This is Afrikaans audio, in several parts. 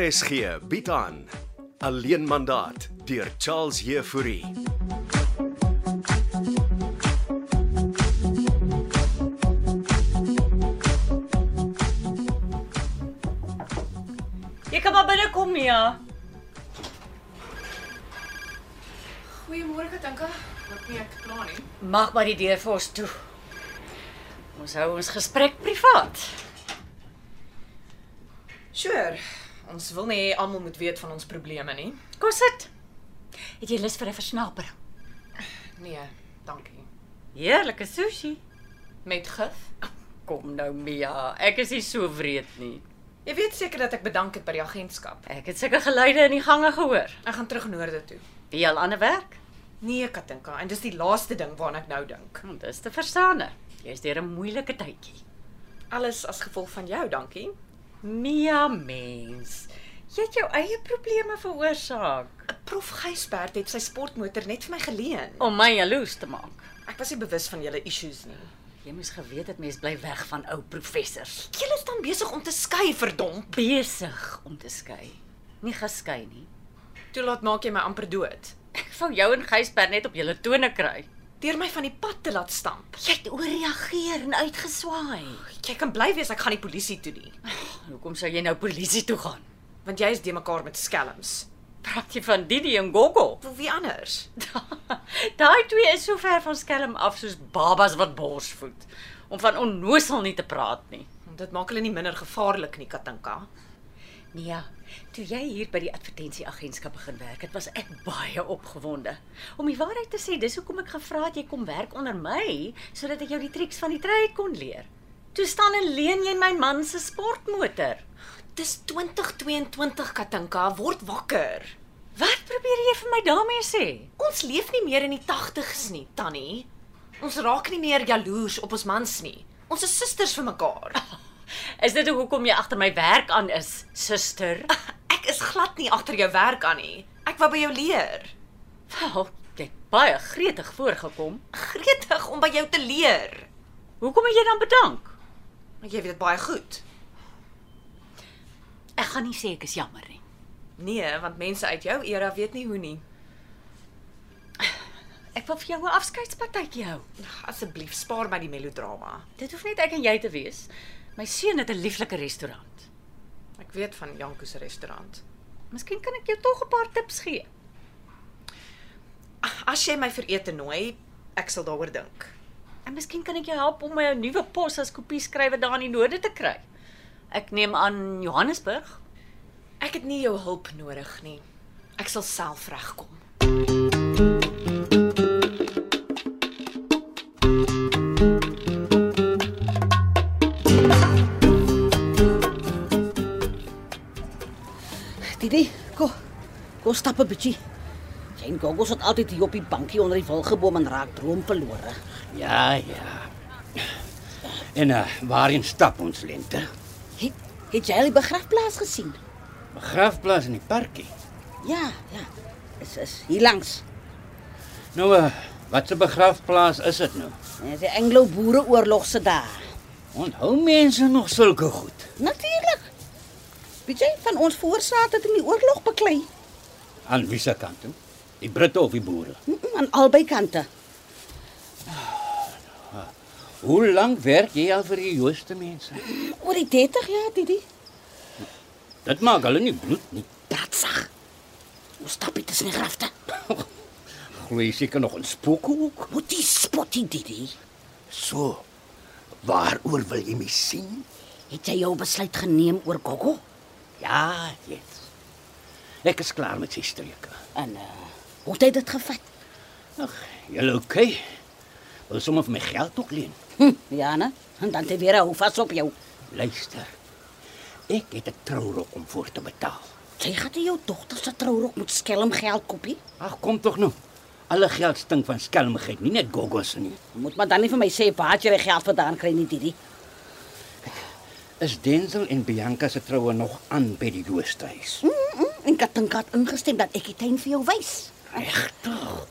RSG bied aan Alleen mandaat deur Charles Heffouri. Jy kan maar binne kom, Mia. Goeiemôre Katinka. Wat nee, ek klaar nie. Mag maar die deur vir ons toe. Ons hou ons gesprek privaat. Sure. Ons wil nie hê almal moet weet van ons probleme nie. Kom sit. Het jy lus vir 'n versnapering? Nee, dankie. Heerlike sushi. Met gif. Kom nou, Mia. Ek is nie so wreed nie. Jy weet seker dat ek bedank het by die agentskap. Ek het sulke geluide in die gange gehoor. Ek gaan terug noorde toe. Wie al ander werk? Nee, Katinka, en dis die laaste ding waaraan ek nou dink. Kom, dis te verstaane. Jy's deur 'n moeilike tydjie. Alles as gevolg van jou, dankie. Mia mens. Jy het jou eie probleme veroorsaak 'n Prof Gysbert het sy sportmotor net vir my geleen. om my jaloes te maak. Ek was nie bewus van julle issues nie. Jy moes geweet het mense bly weg van ou professors. Julle is dan besig om te skei, verdomp. Besig om te skei. Nie geskei nie. Toe laat maak jy my amper dood. Ek wou jou en Gysbert net op julle tone kry. Deur my van die pad te laat stamp. Jy het ooreageer en uitgeswaai. Jy kan bly wees ek gaan die polisie toe nie. Hoekom sou jy nou polisie toe gaan? want jy is de mekaar met skelms. Praat jy van Didi en Gogo? Vir wie anders? Daai twee is so ver van skelm af soos babas wat borsvoed. Om van onnosel nie te praat nie. Dit maak hulle nie minder gevaarlik nie, Katinka. Nee, ja, toe jy hier by die advertensieagentskap begin werk, het was ek baie opgewonde. Om die waarheid te sê, dis hoekom ek gevra het jy kom werk onder my sodat ek jou die triks van die trade kon leer. Toe staan en leen jy my man se sportmotor. Dis 2022, Katinka, word wakker. Wat probeer jy vir my daarmee sê? Ons leef nie meer in die 80's nie, Tannie. Ons raak nie meer jaloers op ons mans nie. Ons is susters vir mekaar. Is dit hoekom jy agter my werk aan is, suster? Ek is glad nie agter jou werk aan nie. Ek wou by jou leer. Wel, jy het baie gretig voorgekom. Gretig om by jou te leer. Hoekom het jy dan bedank? Maar jy weet dit baie goed. Ek gaan nie sê ek is jammer nie. Nee, want mense uit jou era weet nie hoe nie. Ek wil vir jou 'n afskeidspartytjie hou. Asseblief spaar my die melodrama. Dit hoef net ek en jy te wees. My seun het 'n lieflike restaurant. Ek weet van Janko se restaurant. Miskien kan ek jou tog 'n paar tips gee. As jy my vir ete nooi, ek sal daaroor dink. En miskien kan ek jou help om my 'n nuwe pos as kopieskrywer daar in die noorde te kry. Ek neem aan Johannesburg. Ek het nie jou hulp nodig nie. Ek sal self regkom. Didi, kom. Kom stap 'n bietjie. Jy en Gogo sit altyd hier op die bankie onder die wilgeboom en raak droomverlore. Ja, ja. En uh, waarin stap ons lente? Het, het jy al die begrafplaas gesien? Begrafplaas in die parkie. Ja, ja. Is is hier langs. Nou, uh, wat 'n begrafplaas is dit nou? Dis Ja, die Anglo-Boereoorlog se dae. Onthou mense nog sulke goed? Natuurlik. Weet jy van ons voorsaat het in die oorlog beklei Aan wiese kant toe? Die Britte of die boere? Mm, mm, aan albei kante. Hoe lank werk jy al vir die Jooste mense? Oor die 30 jaar, Didi. Dit maak hulle nie bloed nie. Bratsag. Ons stap dit tussen die grafte. Glo jy seker nog 'n spook ook? Moet jy spot die Didi? So. Waaroor wil jy my sien? Het jy jou besluit geneem oor Gogo? Ja, dit. Ek is klaar met sy streke. En uh, hoe het hy dit gevat? Ag, julle okay? Wil sommer vir my geld ook leen? Hm, Jana, en dan te weer hou vas op jou. Luister. Ek het 'n trourok om voor te betaal. Sy gaan dit jou dogter se trourok moet skelm geld kopie. Ag, kom tog nou. Alle geld stink van skelmigheid, nie net goggels nie. Moet maar dan nie vir my sê waar jy die geld vandaan kry nie, Didi. Is Denzel en Bianca se troue nog aan by die Joosthuis? Mm -mm, en Katinka het ingestem dat ek die tuin vir jou wys. Regtig?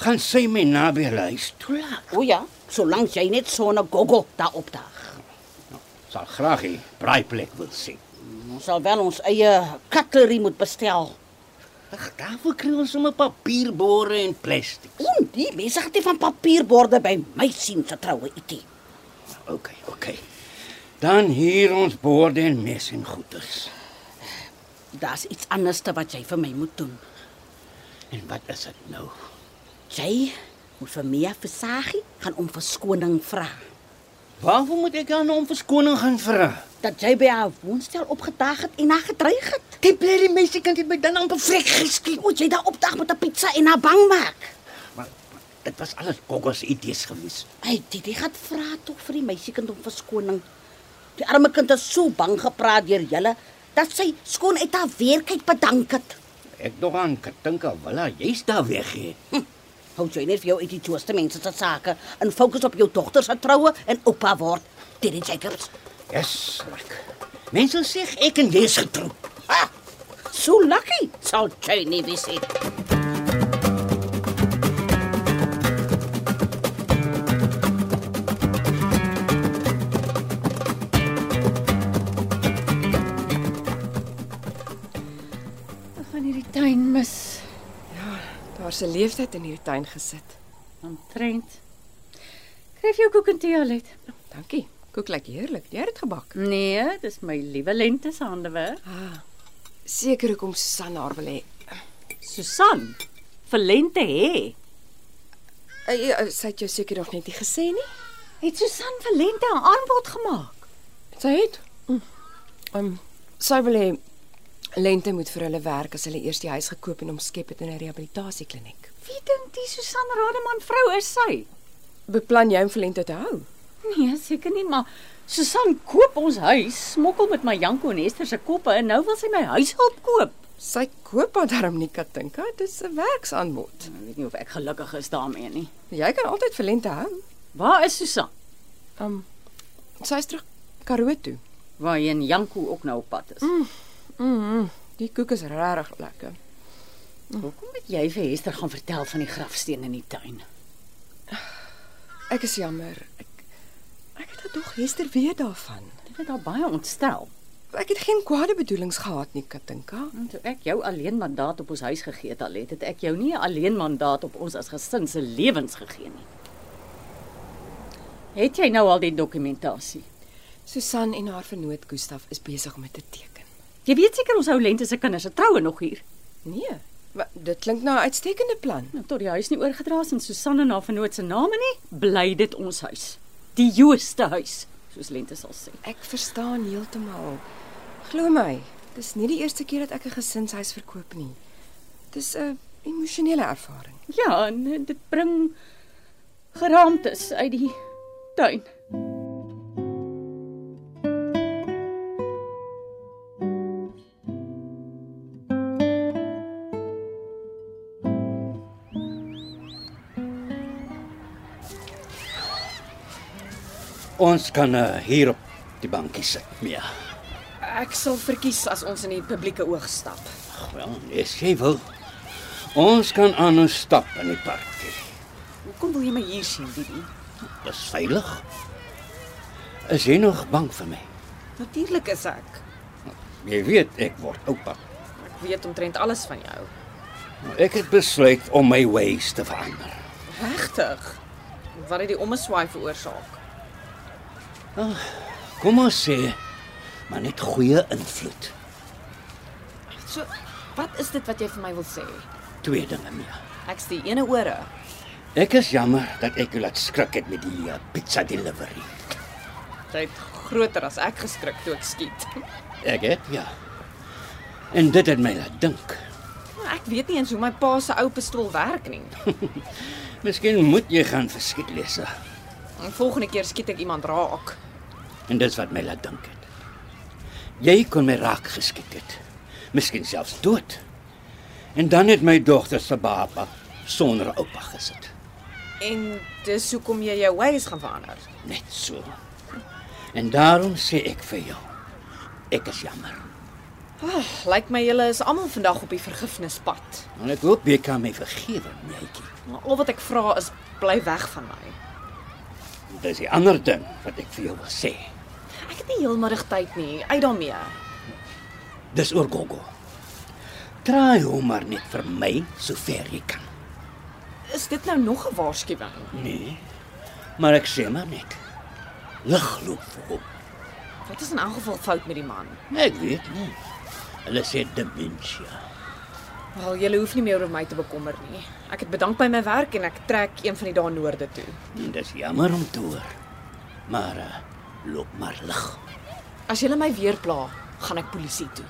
gaan sy my naby hulle huis toelaat. O ja, solank jy net so 'n gogo daar opdaag. Sal graag die braaiplek wil sien. Ons sal wel ons eie cutlery moet bestel. Ag, daarvoor kry ons sommer papierborde en plastiek. Oom, die mense gaan dit van papierborde by my sien se troue ietsie. OK, OK. Dan hier ons borde en mes en goeders. Daar's iets anders te wat jy vir my moet doen. En wat is dit nou? Jy moet vir Mia Versaghi gaan om verskoning vra Waarvoor moet ek aan hom verskoning gaan vra? dat jy by haar woonstel opgedaag het en haar gedreig het. Die blerrie meisie kan dit my dan amper vrek geskiet. Moet jy daar opdaag met 'n pizza en haar bang maak. Maar maar dit was alles Gogo se idees gewees. Hey, Didi gaan vra tog vir die meisiekind om verskoning. Die arme kind is so bang gepraat deur julle dat sy skoon uit haar weerkyk bedank het. Ek nog aan Katinka Villa, jy's daar weg hè. Hou jy net vir jou uit die twiste mense se sake en fokus op jou dogter se troue en oupa word. Didi Jacobs. Yes, lak. Mense sê ek en jy is getroud. Ha! So lucky sal jy nie wees nie. Ek gaan hierdie tuin mis. Daar's 'n leeftyd in hierdie tuin gesit. Omtrent. Kryf jou koek en tee al uit. Dankie. Koek lyk heerlik. Jy het dit gebak. Nee, dis my liewe lente se handewerk. Seker hoekom Susan haar wil hê. Susan, vir lente hê. Ey, eh, Sy het jou seker nog net nie gesê nie. Het Susan vir lente 'n aanbod gemaak? Sy het. Ehm um, sy wil hê Lente moet vir hulle werk as hulle eers die huis gekoop en omskep het in 'n rehabilitasiekliniek. Wie dink die Susan Rademan vrou is sy? Beplan jy om vir Lente te hou? Nee, seker nie, maar Susan koop ons huis, smokkel met my Janko en Hester se koppe en nou wil sy my huis opkoop. Sy koop haar darm nie Katinka, dis 'n werksaanbod. Nou, Ek weet nie of ek gelukkig is daarmee nie. Jy kan altyd vir Lente hou. Waar is Susan? Ehm um, sy's terug Karoo toe. Waarheen Janko ook nou op pad is. Mm. Mm, -hmm. die koek is regtig lekker. Hoekom moet jy vir Hester gaan vertel van die grafsteen in die tuin? Ek is jammer. Ek ek het gedog Hester weet daarvan. Dit het haar baie ontstel. Ek het geen kwade bedoelings gehad nie, Katinka. En Nou, toe ek jou alleen mandaat op ons huis gegee het, Alet, het ek jou nie 'n alleen mandaat op ons as gesin se lewens gegee nie. Het jy nou al die dokumentasie? Susan en haar vernoot Gustaf is besig om dit te teken. Jy weet seker ons hou lente se kinders se troue nog hier. Nee, wa, dit klink na 'n uitstekende plan. Nou tot die huis nie oorgedra is en Susan en haar vernoot se name nie, bly dit ons huis. Die Jooste huis, soos Lente sal sê. Ek verstaan heeltemal. Glo my, dis nie die eerste keer dat ek 'n gesinshuis verkoop nie. Dis 'n emosionele ervaring. Ja, en dit bring geraamtes uit die tuin. Ons kan uh, hier op die bankie sit. Ja. Ek sal verkies as ons in die publieke oog stap. Ag wel, nee, as jy wil. Ons kan aan ons stap in die park. Hoekom wil jy my hier sien, Didi? Dis veilig. Is jy nog bang vir my? Natuurlik is ek. Jy weet ek word oupa. Ek weet omtrent alles van jou. Nou, Ek het besluit om my ways te verander. Regtig? Wat het die ommeswaai veroorsaak? Kom ons sê, maar net goeie invloed. So, wat is dit wat jy vir my wil sê? Twee dinge meer. Ek's die ene ore. Ek is jammer dat ek jou laat skrik het met die eh, pizza delivery. Jy het groter as ek geskrik toe ek skiet. Ek het ja. En dit het my laat dink. Maar ek weet nie eens hoe my pa se ou pistool werk nie. Miskien moet jy gaan verskiet lees. En volgende keer skiet ek iemand raak. En dis wat my laat dink het. Jy kon my raak geskiet het. Miskien selfs dood. En dan het my dogter se baba sonder oupa gesit. En dis hoekom jy jou ways gaan verander. Net so. En daarom sê ek vir jou, ek is jammer. Oh, lyk my julle is almal vandag op die vergifnispad. En ek hoop jy kan my vergewe, netjie. Maar al wat ek vra is bly weg van my. Dis die ander ding wat ek vir jou wil sê. Ek het nie heelmiddag tyd nie. Uit daarmee. Dis oor Gogo. Traai hom maar net vir my sover jy kan. Is dit nou nog 'n waarskuwing? Nee. Maar ek sê maar net. Lig loop vir hom. Wat is in elk geval fout met die man? Ek weet nie. Hulle sê dementia. Wel, jy hoef nie meer oor my te bekommer nie. Ek het bedank by my werk en ek trek een van die dae noorde toe. En dis jammer om te hoor. Maar uh, loop maar lig. As jy my weer pla, gaan ek polisie toe.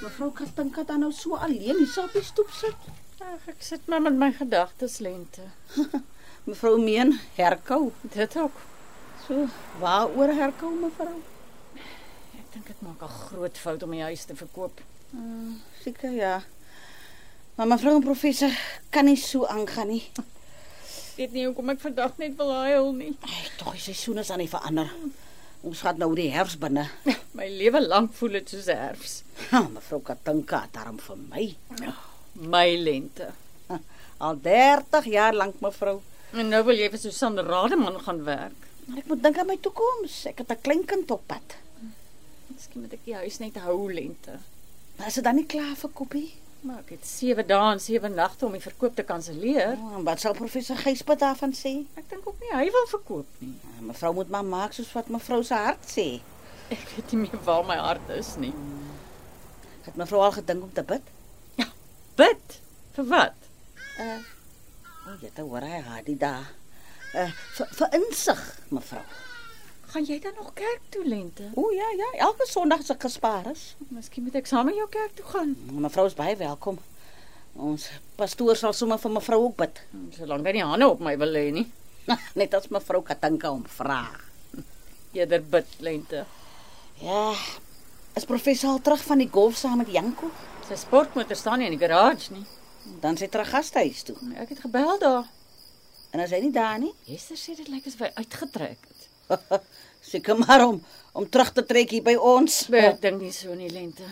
Mevrou Kastanka dan nou so alleen hier op die stoep sit. Ag, ek sit maar met my gedagtes lente. Mevrou Meen herkou. Dit ook. So, waaroor herkou mevrou? Ek dink ek maak 'n groot fout om die huis te verkoop. Seker ja. Maar mevrou en professor kan nie so aangaan nie. Ek weet nie hoekom ek vandag net wil huil nie. Ai, tog die seisoen is aan die verander. Ons gaan nou die herfs binne. My lewe lank voel dit soos herfs. Ha, mevrou Katanka het daarom vir my My lente. al 30 jaar lank mevrou. En nou wil jy vir Susan Rademan gaan werk. Maar ek moet dink aan my toekoms. Ek het 'n kleinkind op pad. Miskien moet ek die huis net hou lente. Maar is dit dan nie klaar vir koppie? Maar ek het 7 dae en 7 nagte om die verkoop te kanselleer. Oh, en wat sal professor Gysbert daarvan sê? Ek dink ook nie hy wil verkoop nie. Ah, Mevrou moet maar maak soos wat mevrou se hart sê. Ek weet nie meer waar my hart is nie. Het mevrou al gedink om te bid? Bid. Vir wat? Uh. Oh, jy het hoor hy haar die dag. Uh, vir, vir insig, mevrou. Gaan jy dan nog kerk toe lente? O ja, ja, elke Sondag se gespaar is. Miskien moet ek saam met jou kerk toe gaan. Mevrou is baie welkom. Ons pastoor sal sommer vir mevrou ook bid, Solank hy nie hande op my wil hê nie. net as mevrou Katanka hom vra. Eerder bid lente. Ja. Is professor al terug van die golf saam met Janko? Sy sportmotor staan nie in die garage nie. Dan sy terug gastehuis toe. Ek het gebel daar. En as hy nie daar nie, Jester sê dit lyk asof hy uitgetrek het. seker maar om om terug te trek hier by ons. Maar ek dink nie so nie lente.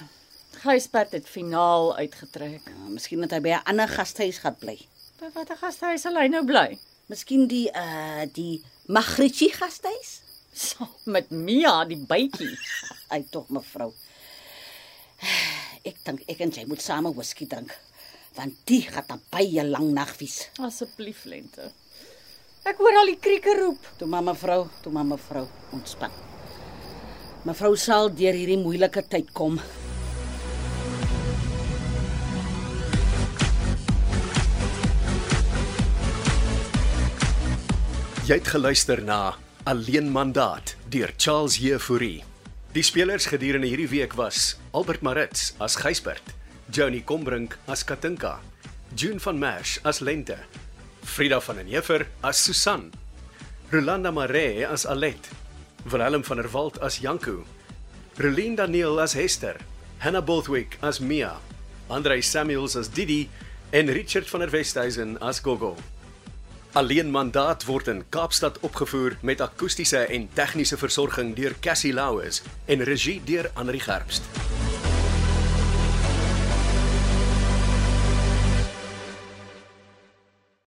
Gysbert het finaal uitgetrek. Ja, miskien dat hy by 'n ander gastehuis gaan bly. By watter gastehuis sal hy nou bly? Miskien die uh die Magritjie gastehuis? Saam met Mia die bytjie. Ai tog mevrou. Ek dink ek en jy moet same whisky drink. Want die gaan dan baie lank nag wees. Asseblief lente. Ek hoor al die krieke roep. Toe maar mevrou, toe maar mevrou, ontspan. Mevrou sal deur hierdie moeilike tyd kom. Jy het geluister na Alleen Mandaat deur Charles Jefouri. Die spelers gedurende hierdie week was Albert Maritz as Gysbert, Johnny Combrink as Katinka, June van Merwe as Lente, Frida van den Heever as Susan, Rolanda Maree as Alet, Willem van der Walt as Janku, Relien Daniel as Hester, Hannah Bothwick as Mia, Andrei Samuels as Didi en Richard van der Westhuizen as Gogo. Alleen mandaat word in Kaapstad opgevoer met akoestiese en tegniese versorging deur Cassie Louws en regie deur Anri Gerbst.